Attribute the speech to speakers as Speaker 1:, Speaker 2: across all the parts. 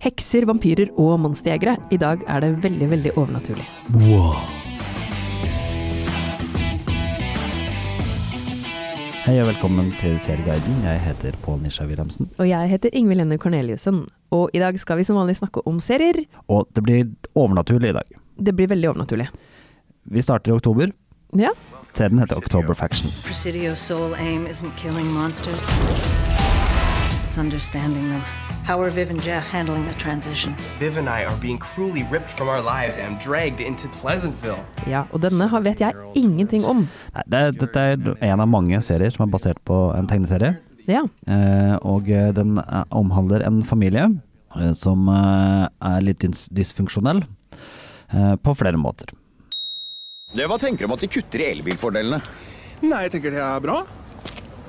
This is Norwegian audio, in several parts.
Speaker 1: Hekser, vampyrer og monsterjegere. I dag er det veldig, veldig overnaturlig.
Speaker 2: Wow. Hei og velkommen til Serieguiden. Jeg heter Pål Nisha Wilhelmsen.
Speaker 1: Og jeg heter Ingvild Henne Corneliussen. Og i dag skal vi som vanlig snakke om serier.
Speaker 2: Og det blir overnaturlig i dag.
Speaker 1: Det blir veldig overnaturlig.
Speaker 2: Vi starter i oktober.
Speaker 1: Ja.
Speaker 2: Serien heter October Faction.
Speaker 3: Presidio's sole aim isn't killing monsters, it's understanding them. How are Viv and Jeff handling the transition?
Speaker 4: Viv and I are being cruelly ripped from our lives and dragged into Pleasantville.
Speaker 1: ja. Og denne har- vet jeg ingenting om.
Speaker 2: Nei, det, dette er en av mange serier som er basert på en tegneserie.
Speaker 1: Ja.
Speaker 2: Eh, og eh, den eh, omhandler en familie eh, som eh, er litt dys dysfunksjonell eh, på flere måter.
Speaker 5: Det, hva tenker du om at de kutter i elbilfordelene?
Speaker 6: Nei, jeg tenker det er bra.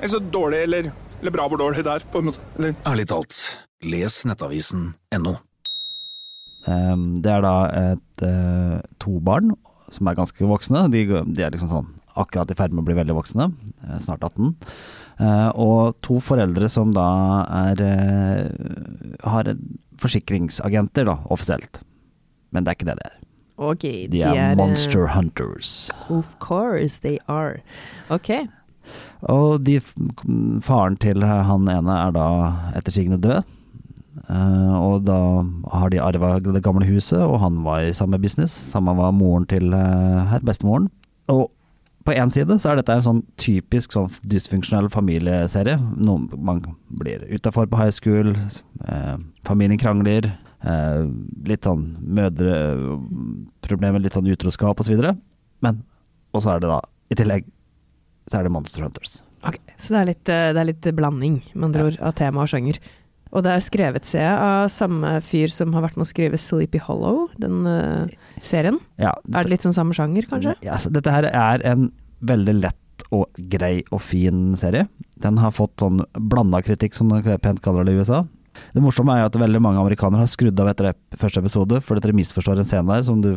Speaker 6: Eller så dårlig, eller, eller bra hvor dårlig det er, på en måte. Eller
Speaker 5: Ærlig talt, les nettavisen NO.
Speaker 2: Eh, det er da et, eh, to barn som er ganske voksne. De, de er liksom sånn akkurat i ferd med å bli veldig voksne, eh, snart 18. Eh, og to foreldre som da er eh, har en- forsikringsagenter, da, offisielt. Men det er ikke det det er.
Speaker 1: Ok.
Speaker 2: De er,
Speaker 1: eh,
Speaker 2: monster hunters.
Speaker 1: Of course they are. Ok.
Speaker 2: Og de, faren til han ene er da ettersigende død. Eh, og da har de arva det gamle huset, og han var i samme business. Samme var moren til eh, her, bestemoren. Og på én side så er dette en sånn typisk sånn dysfunksjonell familieserie. Noen, man blir utafor på high school, eh, familien krangler. eh, litt sånn mødreproblemer, litt sånn utroskap osv. Så videre. Men Og så er det da, i tillegg, så er det Monster Hunters.
Speaker 1: Ok, Så det er litt, eh, det er litt blanding, med andre ord, av tema og sjanger. Og det er skrevet, ser jeg, av samme fyr som har vært med å skrive Sleepy Hollow, den eh, serien.
Speaker 2: Ja,
Speaker 1: Er det litt sånn samme sjanger, kanskje?
Speaker 2: Ja, altså, dette her er en veldig lett og grei og fin serie. Den har fått sånn blanda kritikk, som de pent kaller det i USA. Det morsomme er jo at veldig mange amerikanere har skrudd av etter ep- første episode, fordi dere misforstår en scene der som du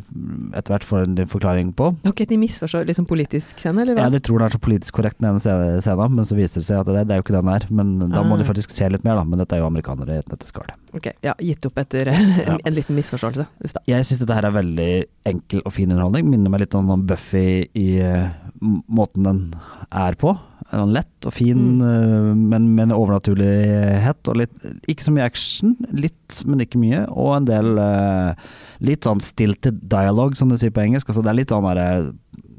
Speaker 2: etter hvert får en liten forklaring på.
Speaker 1: Ok, de misforstår liksom politisk scene, eller hva?
Speaker 2: Ja, de tror det er så politisk korrekt den ene scene- scenen, men så viser det seg at det, det er jo ikke den der. Men da må
Speaker 1: Ah.
Speaker 2: de faktisk se litt mer, da. Men dette er jo amerikanere i et nøtteskall.
Speaker 1: Ok, ja, gitt opp etter eh,
Speaker 2: Ja.
Speaker 1: en, en liten misforståelse. Uff da.
Speaker 2: Jeg syns dette her er veldig enkel og fin underholdning. Minner meg litt om sånn Buffy i eh, m- måten den er på. Er Sånn lett og fin,
Speaker 1: Mm.
Speaker 2: eh, men med en overnaturlighet. Og litt, ikke så mye action, litt, men ikke mye. Og en del eh, litt sånn stilted dialogue, som de sier på engelsk. Altså, det er litt sånn derre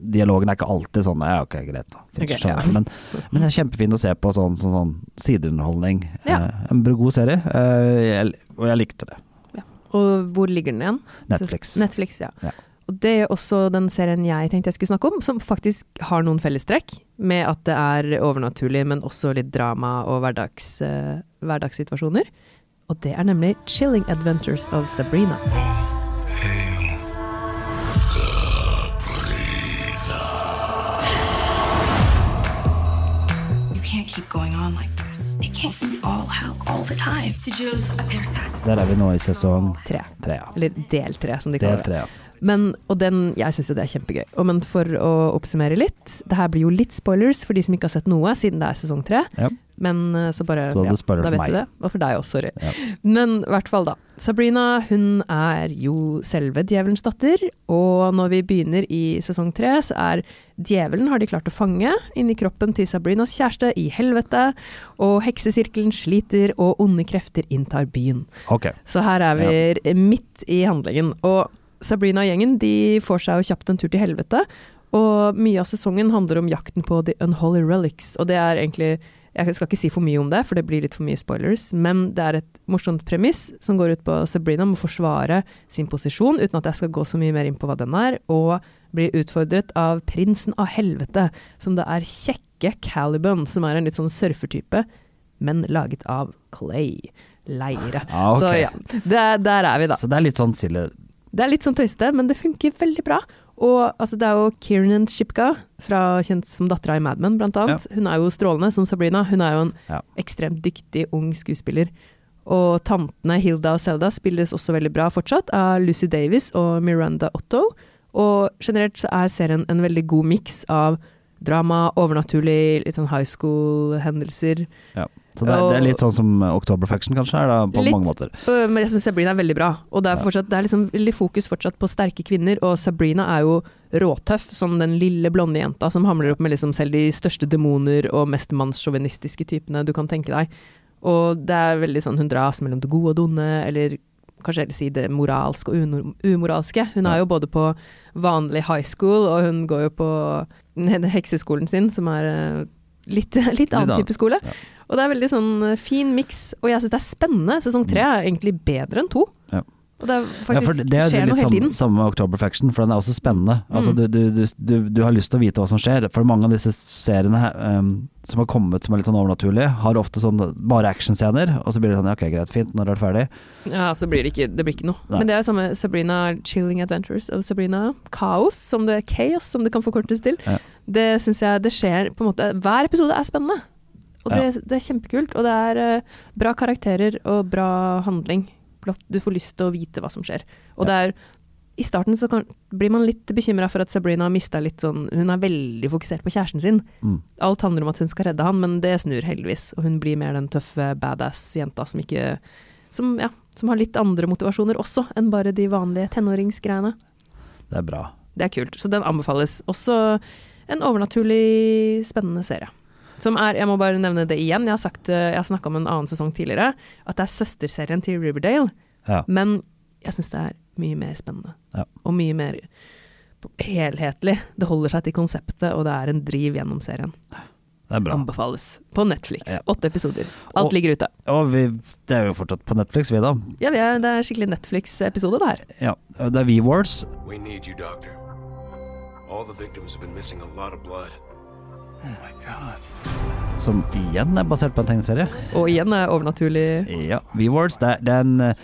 Speaker 2: Dialogen er ikke alltid sånn Ja, ok, greit. Da. Fint,
Speaker 1: Ok,
Speaker 2: skjønner
Speaker 1: ja.
Speaker 2: jeg. men, men det er kjempefint å se på sånn, sånn, sånn sideunderholdning.
Speaker 1: Ja.
Speaker 2: Eh, en god serie, eh, jeg, og jeg likte det.
Speaker 1: Og hvor ligger den igjen?
Speaker 2: Netflix.
Speaker 1: Så- Netflix, ja.
Speaker 2: Ja.
Speaker 1: Og det er også den serien jeg tenkte jeg skulle snakke om, som faktisk har noen fellestrekk med at det er overnaturlig, men også litt drama og hverdags, eh, hverdagssituasjoner. Og det er nemlig 'Chilling Adventures of Sabrina'.
Speaker 7: You can't keep going on like this. It can't be all hell all the time. Sigils apertas.
Speaker 2: Der er vi nå i sesong
Speaker 1: Tre.
Speaker 2: tre. Ja.
Speaker 1: Eller del tre, som de kaller
Speaker 2: Del
Speaker 1: det.
Speaker 2: tre, ja.
Speaker 1: Men, og den, jeg syns jo det er kjempegøy. Og men for å oppsummere litt, det her blir jo litt spoilers for de som ikke har sett noe, siden det er sesong tre.
Speaker 2: Ja.
Speaker 1: Men eh, så bare
Speaker 2: Så det
Speaker 1: ja,
Speaker 2: spoiler
Speaker 1: da
Speaker 2: for
Speaker 1: vet
Speaker 2: meg.
Speaker 1: du det. Og for deg også, sorry.
Speaker 2: Ja.
Speaker 1: Men i hvert fall, da. Sabrina hun er jo selve djevelens datter, og når vi begynner i sesong tre, så er djevelen har de klart å fange inni kroppen til Sabrinas kjæreste i helvete, og heksesirkelen sliter, og onde krefter inntar byen.
Speaker 2: Ok.
Speaker 1: Så her er vi midt i handlingen. Og Sabrina og gjengen de får seg jo kjapt en tur til helvete. Og mye av sesongen handler om jakten på The Unholy Relics. Og det er egentlig Jeg skal ikke si for mye om det, for det blir litt for mye spoilers. Men det er et morsomt premiss som går ut på at Sabrina må forsvare sin posisjon, uten at jeg skal gå så mye mer inn på hva den er, og blir utfordret av prinsen av helvete, som det er kjekke Caliban, som er en litt sånn surfertype, men laget av clay. Leire.
Speaker 2: Ah, ok.
Speaker 1: Så ja, der, der er vi, da.
Speaker 2: Så det er litt sånn silly
Speaker 1: Det er litt sånn tøyste, men det funker veldig bra. Og altså, det er jo Kiernan Shipka, fra, kjent som dattera i Mad Men, blant annet. Hun er jo strålende som Sabrina. Hun er jo en
Speaker 2: Ja.
Speaker 1: ekstremt dyktig ung skuespiller. Og tantene Hilda og Selda spilles også veldig bra fortsatt av Lucy Davis og Miranda Otto. Og generelt så er serien en veldig god miks av drama, overnaturlig, litt sånn high school-hendelser.
Speaker 2: Ja. Så det, er- det er litt sånn som Oktober Faction kanskje er da, på
Speaker 1: Litt.
Speaker 2: mange måter.
Speaker 1: Øh, Men jeg syns Sabrina er veldig bra. Og det er, fortsatt, det er liksom veldig fokus fortsatt på sterke kvinner, og Sabrina er jo råtøff som den lille blonde jenta som hamler opp med liksom selv de største demoner og mest mannssjåvinistiske typene du kan tenke deg. Og det er veldig sånn hun dras mellom det gode og det onde, eller kanskje heller si det moralske og unor- umoralske. Hun er jo både på vanlig high school, og hun går jo på den hekseskolen sin, som er eh, litt, litt annen
Speaker 2: annen,
Speaker 1: type skole.
Speaker 2: ja.
Speaker 1: Og det er veldig sånn eh, fin miks, og jeg syns det er spennende. Sesong tre er egentlig bedre enn to.
Speaker 2: Mm. Ja.
Speaker 1: Og det er
Speaker 2: Ja,
Speaker 1: faktisk
Speaker 2: for det er
Speaker 1: skjer
Speaker 2: litt sånn
Speaker 1: noe hele
Speaker 2: samme,
Speaker 1: tiden.
Speaker 2: samme med Oktober Faction, for den er også spennende. Altså,
Speaker 1: Mm.
Speaker 2: du, du, du, du, du har lyst til å vite hva som skjer, for mange av disse seriene her, ehm, som har kommet som er litt sånn overnaturlige, har ofte sånn bare actionscener, og så blir det sånn ja, ok, greit, fint, når er det ferdig?
Speaker 1: Ja, så blir det ikke, det blir ikke noe.
Speaker 2: Nei.
Speaker 1: Men det er jo samme Sabrina Chilling Adventures og Sabrina Kaos, som det, Chaos, som det kan forkortes til.
Speaker 2: Ja.
Speaker 1: Det syns jeg det skjer på en måte Hver episode er spennende. Og det, det er kjempekult. Og det er eh, bra karakterer og bra handling. Blott Du får lyst til å vite hva som skjer. Og det er I starten så kan, blir man litt bekymra for at Sabrina har mista litt sånn Hun er veldig fokusert på kjæresten sin.
Speaker 2: Mm.
Speaker 1: Alt handler om at hun skal redde han, men det snur heldigvis. Og hun blir mer den tøffe badass-jenta som ikke som, ja, som har litt andre motivasjoner også enn bare de vanlige tenåringsgreiene.
Speaker 2: Det er bra.
Speaker 1: Det er kult, så den anbefales. Også en overnaturlig spennende serie. Som er, jeg må bare nevne det igjen, jeg har, sagt, eh, jeg har snakka om en annen sesong tidligere, at det er søsterserien til Riverdale,
Speaker 2: Ja.
Speaker 1: men jeg syns det er mye mer spennende.
Speaker 2: Ja.
Speaker 1: Og mye mer helhetlig. Det holder seg til konseptet, og det er en driv gjennom serien.
Speaker 2: Det er bra.
Speaker 1: Anbefales. På Netflix.
Speaker 2: Ja.
Speaker 1: Åtte episoder. Alt
Speaker 2: Og-
Speaker 1: ligger ute.
Speaker 2: Og vi, det er jo fortsatt på Netflix, vi da.
Speaker 1: Ja, vi er, det er skikkelig Netflix-episode, det her.
Speaker 2: Ja, det er V-Wars.
Speaker 8: We need you, Doctor. All the victims have been missing a lot of blood.
Speaker 2: som igjen er basert på en tegneserie.
Speaker 1: Og igjen er overnaturlig
Speaker 2: Ja, V-Wars, det, er- det er en eh,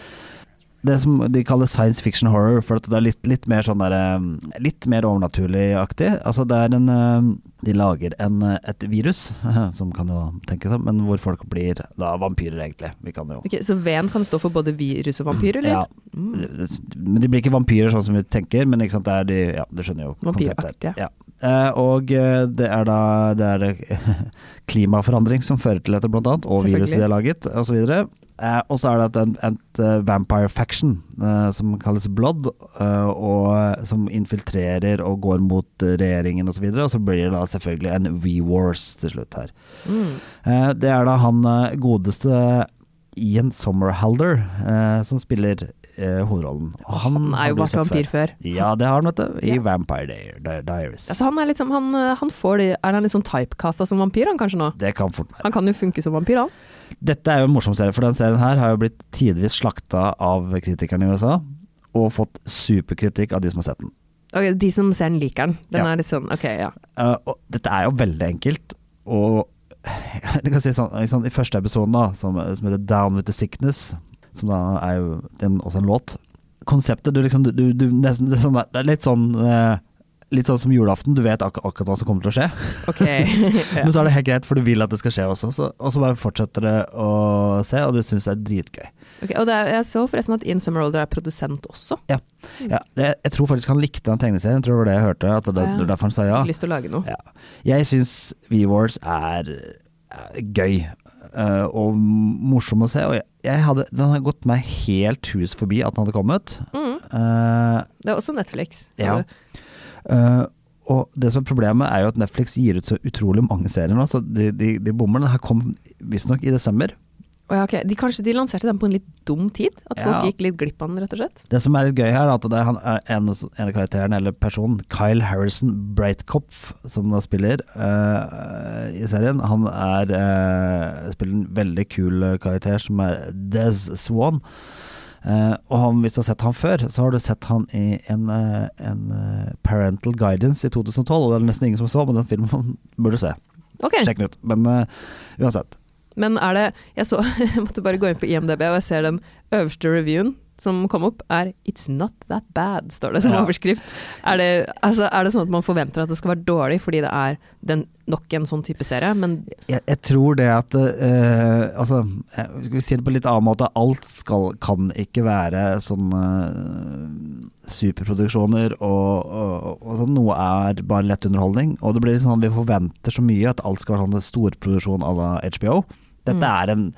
Speaker 2: det som de kaller science fiction horror, for at det er litt, litt mer sånn der eh, Litt mer overnaturlig-aktig. Altså, det er en eh, De lager en, eh, et virus, som kan jo tenkes om, men hvor folk blir da vampyrer, egentlig. Vi kan jo
Speaker 1: Ok, Så V-en kan stå for både virus og vampyr, eller? Mm.
Speaker 2: ja. Men de blir ikke vampyrer sånn som vi tenker, men ikke sant, det er de Ja, du skjønner jo konseptet.
Speaker 1: Vampyraktige.
Speaker 2: Ja. Eh, og eh, det er da det er eh, klimaforandring som fører til dette, blant annet, og viruset de har laget, osv. Eh, og så er det et, en- et eh, vampire faction eh, som kalles Blood, eh, og eh, som infiltrerer og går mot eh, regjeringen osv., og, så videre, og så blir det da selvfølgelig en V-Wars til slutt her. Eh, Det er da han eh, godeste Ian Sommerhalder eh, som spiller eh, hovedrollen. Og
Speaker 1: Han
Speaker 2: har
Speaker 1: er jo
Speaker 2: du
Speaker 1: vært
Speaker 2: sett
Speaker 1: vampyr
Speaker 2: før.
Speaker 1: før.
Speaker 2: Ja, det har han, vet du. I
Speaker 1: Ja.
Speaker 2: Vampire Di- Di- Diaries.
Speaker 1: Altså, han er litt som, han, eh, han får det, er han litt sånn typecasta som vampyr, han kanskje nå?
Speaker 2: det kan fort være.
Speaker 1: Han kan jo funke som vampyr, han.
Speaker 2: Dette er jo en morsom serie, for den serien her har jo blitt tidvis slakta av kritikerne i USA. Og fått superkritikk av de som har sett den.
Speaker 1: Ok, de som ser den, liker den. Den
Speaker 2: Ja.
Speaker 1: er litt sånn, ok, ja.
Speaker 2: Eh, og dette er jo veldig enkelt, og du kan si sånn, ikke sant, I første episoden, da, som, som heter 'Down with the Sickness', som da er jo det er en, også en låt Konseptet du liksom, du, du, du nesten, det, er sånn, der- det er litt sånn eh, Litt sånn som julaften, du vet ak akkurat hva som kommer til å skje.
Speaker 1: Ok. ja.
Speaker 2: Men så er det helt greit, for du vil at det skal skje også. Så, og så bare fortsetter det å se, og du syns det er dritgøy.
Speaker 1: Ok, og det er, jeg så forresten at In Summerholder er produsent også. Mm.
Speaker 2: Ja, det, jeg tror faktisk han likte den tegneserien, tror det var det jeg hørte. At det,
Speaker 1: Ja.
Speaker 2: det var derfor han sa ja.
Speaker 1: Fikk lyst til å lage noe.
Speaker 2: Ja. Jeg syns V-Wars er, er gøy eh, og morsom å se. Og jeg, jeg hadde, den har gått meg helt hus forbi at den hadde kommet. Eh,
Speaker 1: Det er også Netflix. så
Speaker 2: Ja.
Speaker 1: det-
Speaker 2: eh, og det som er problemet er jo at Netflix gir ut så utrolig mange serier nå, så de, de, de bommer. Den her kom visstnok i desember.
Speaker 1: Å ja, ok. De, kanskje de lanserte den på en litt dum tid? At folk
Speaker 2: Ja.
Speaker 1: gikk litt glipp av den, rett og slett?
Speaker 2: Det som er litt gøy her, er at det er han, eh, en, en av karakterene, eller personen, Kyle Harrison Breitkopf, som da spiller eh, i serien, han er, eh, spiller en veldig kul karakter som er Dez Swan. Eh, og han, hvis du har sett han før, så har du sett han i en, eh, en eh, Parental Guidance i 2012. Og det er nesten ingen som så, men den filmen burde du se.
Speaker 1: Ok.
Speaker 2: Sjekk den ut. Men eh, uansett.
Speaker 1: Men er det Jeg, så, jeg måtte bare gå inn på IMDb, og jeg ser den øverste reviewen som kom opp, er 'It's not that bad', står det som
Speaker 2: Ja.
Speaker 1: overskrift. Er det, altså, er det sånn at man forventer at det skal være dårlig fordi det er den, nok en sånn type serie, men
Speaker 2: jeg, jeg tror det at eh, Altså, eh, skal vi si det på en litt annen måte. Alt skal, kan ikke være sånne eh, superproduksjoner og, og, og sånn. Noe er bare lett underholdning. Og det blir litt sånn at vi forventer så mye at alt skal være sånn storproduksjon à la HBO. Dette
Speaker 1: Mm.
Speaker 2: er en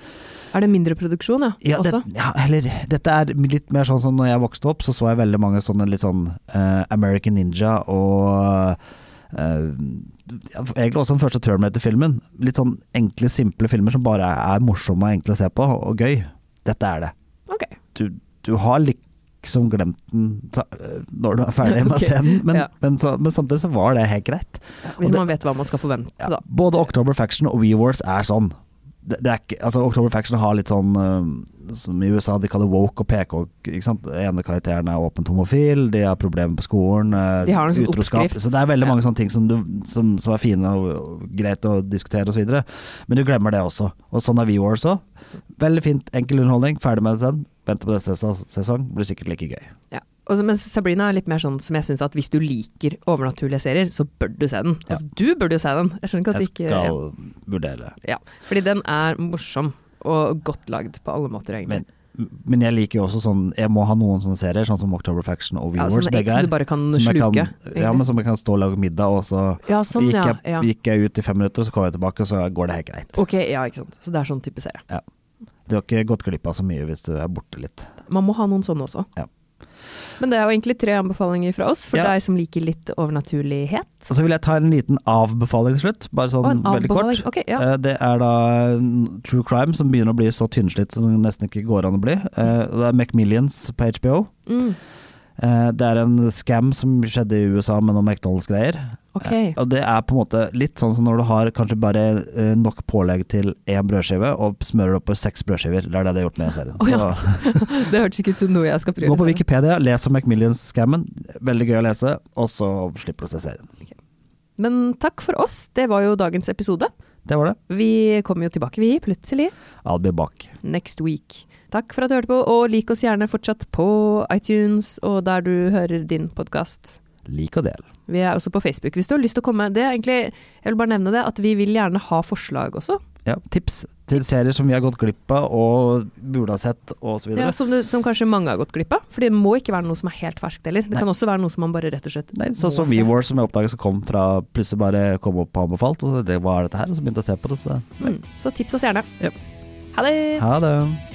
Speaker 1: Er det mindre produksjon, ja?
Speaker 2: ja, det,
Speaker 1: også?
Speaker 2: ja, eller dette er litt mer sånn som når jeg vokste opp, så så jeg veldig mange sånne litt sånn eh, American Ninja og eh, ja, Egentlig også den første Terminator-filmen. Litt sånn enkle, simple filmer som bare er morsomme og enkle å se på, og gøy. Dette er det.
Speaker 1: Ok.
Speaker 2: Du, du har liksom glemt den ta- eh, når du er ferdig med
Speaker 1: Ok,
Speaker 2: scenen, men,
Speaker 1: ja.
Speaker 2: men, så, men samtidig så var det helt greit.
Speaker 1: Hvis
Speaker 2: Og det-
Speaker 1: man vet hva man skal forvente,
Speaker 2: Ja,
Speaker 1: da.
Speaker 2: både October Faction og WeWars er sånn. Det, det er ikke, altså October Faction har litt sånn eh, som i USA de kaller woke og PK. Ikke sant? Den ene karakteren er åpent homofil, de har problemer på skolen, eh,
Speaker 1: De har en sånn
Speaker 2: utroskap.
Speaker 1: oppskrift.
Speaker 2: Så det er veldig
Speaker 1: Ja.
Speaker 2: mange sånne ting som, du, som, som er fine og, og greit å diskutere osv. Men du glemmer det også. Og sånn er WeWars òg. Veldig fint, enkel underholdning, ferdig med den. Venter på neste ses- sesong, blir sikkert like gøy.
Speaker 1: Ja. Og så- mens Sabrina er litt mer sånn som jeg syns at hvis du liker overnaturlige serier, så bør du se den.
Speaker 2: Ja.
Speaker 1: Altså, du burde jo se den. Jeg skjønner ikke at du
Speaker 2: Jeg
Speaker 1: ikke
Speaker 2: skal vurdere.
Speaker 1: ja. ja. Fordi den er morsom og godt lagd på alle måter, egentlig.
Speaker 2: Men, men jeg liker jo også sånn Jeg må ha noen sånne serier, sånn som October Faction og
Speaker 1: Ja,
Speaker 2: WeWars.
Speaker 1: sånne
Speaker 2: begge
Speaker 1: som
Speaker 2: er,
Speaker 1: du bare kan
Speaker 2: som jeg
Speaker 1: sluke, egentlig.
Speaker 2: ja, men som jeg kan stå og lage middag, og så
Speaker 1: Ja, sånn,
Speaker 2: gikk,
Speaker 1: ja,
Speaker 2: jeg,
Speaker 1: ja.
Speaker 2: gikk jeg ut i fem minutter, og så kom jeg tilbake, og så går det helt greit.
Speaker 1: Ok, ja, ikke sant. Så det er sånn type serie.
Speaker 2: Ja. Du har ikke gått glipp av så mye hvis du er borte litt.
Speaker 1: Man må ha noen sånne også.
Speaker 2: Ja.
Speaker 1: Men det er jo egentlig tre anbefalinger fra oss, for
Speaker 2: Ja.
Speaker 1: deg som liker litt overnaturlighet.
Speaker 2: Og så vil jeg ta en liten avbefaling til slutt, bare sånn
Speaker 1: Å, en
Speaker 2: veldig kort.
Speaker 1: avbefaling. Ok, ja.
Speaker 2: Eh, Det er da mm, True Crime, som begynner å bli så tynnslitt som det nesten ikke går an å bli. Eh, Det er McMillions på HBO.
Speaker 1: Mm,
Speaker 2: Eh, Det er en scam som skjedde i USA med noen McDonald's-greier.
Speaker 1: ok.
Speaker 2: Eh, Og det er på en måte litt sånn som når du har kanskje bare eh, nok pålegg til én brødskive, og smører det opp på seks brødskiver. Det er det de har gjort med den serien.
Speaker 1: Å, ja.
Speaker 2: Så,
Speaker 1: Det hørtes ikke ut som noe jeg skal
Speaker 2: gå på
Speaker 1: prioritere.
Speaker 2: Wikipedia, les om McMillions-scammen. Veldig gøy å lese, og så slipper du å se serien.
Speaker 1: Men takk for oss, det var jo dagens episode.
Speaker 2: Det var det.
Speaker 1: Vi kommer jo tilbake, vi, plutselig.
Speaker 2: I'll be back.
Speaker 1: next week. Takk for at du hørte på, og lik oss gjerne fortsatt på iTunes og der du hører din podkast.
Speaker 2: Lik og del.
Speaker 1: Vi er også på Facebook hvis du har lyst til å komme. Det er egentlig, jeg vil bare nevne det, at vi vil gjerne ha forslag også.
Speaker 2: Ja, tips til serier som vi har gått glipp av og burde ha sett, og
Speaker 1: Ja,
Speaker 2: så videre.
Speaker 1: som, du, som kanskje mange har gått glipp av. For det må ikke være noe som er helt ferskt heller. Det
Speaker 2: Nei.
Speaker 1: kan også være noe som man bare rett og slett
Speaker 2: Nei, sånn som
Speaker 1: må se.
Speaker 2: WeWar, som jeg oppdaget som kom fra plutselig bare kom opp på anbefalt, og det var dette her, og så begynte jeg å se på det, så
Speaker 1: Mm, så tips oss gjerne.
Speaker 2: Yep.
Speaker 1: Ha det!
Speaker 2: ha det.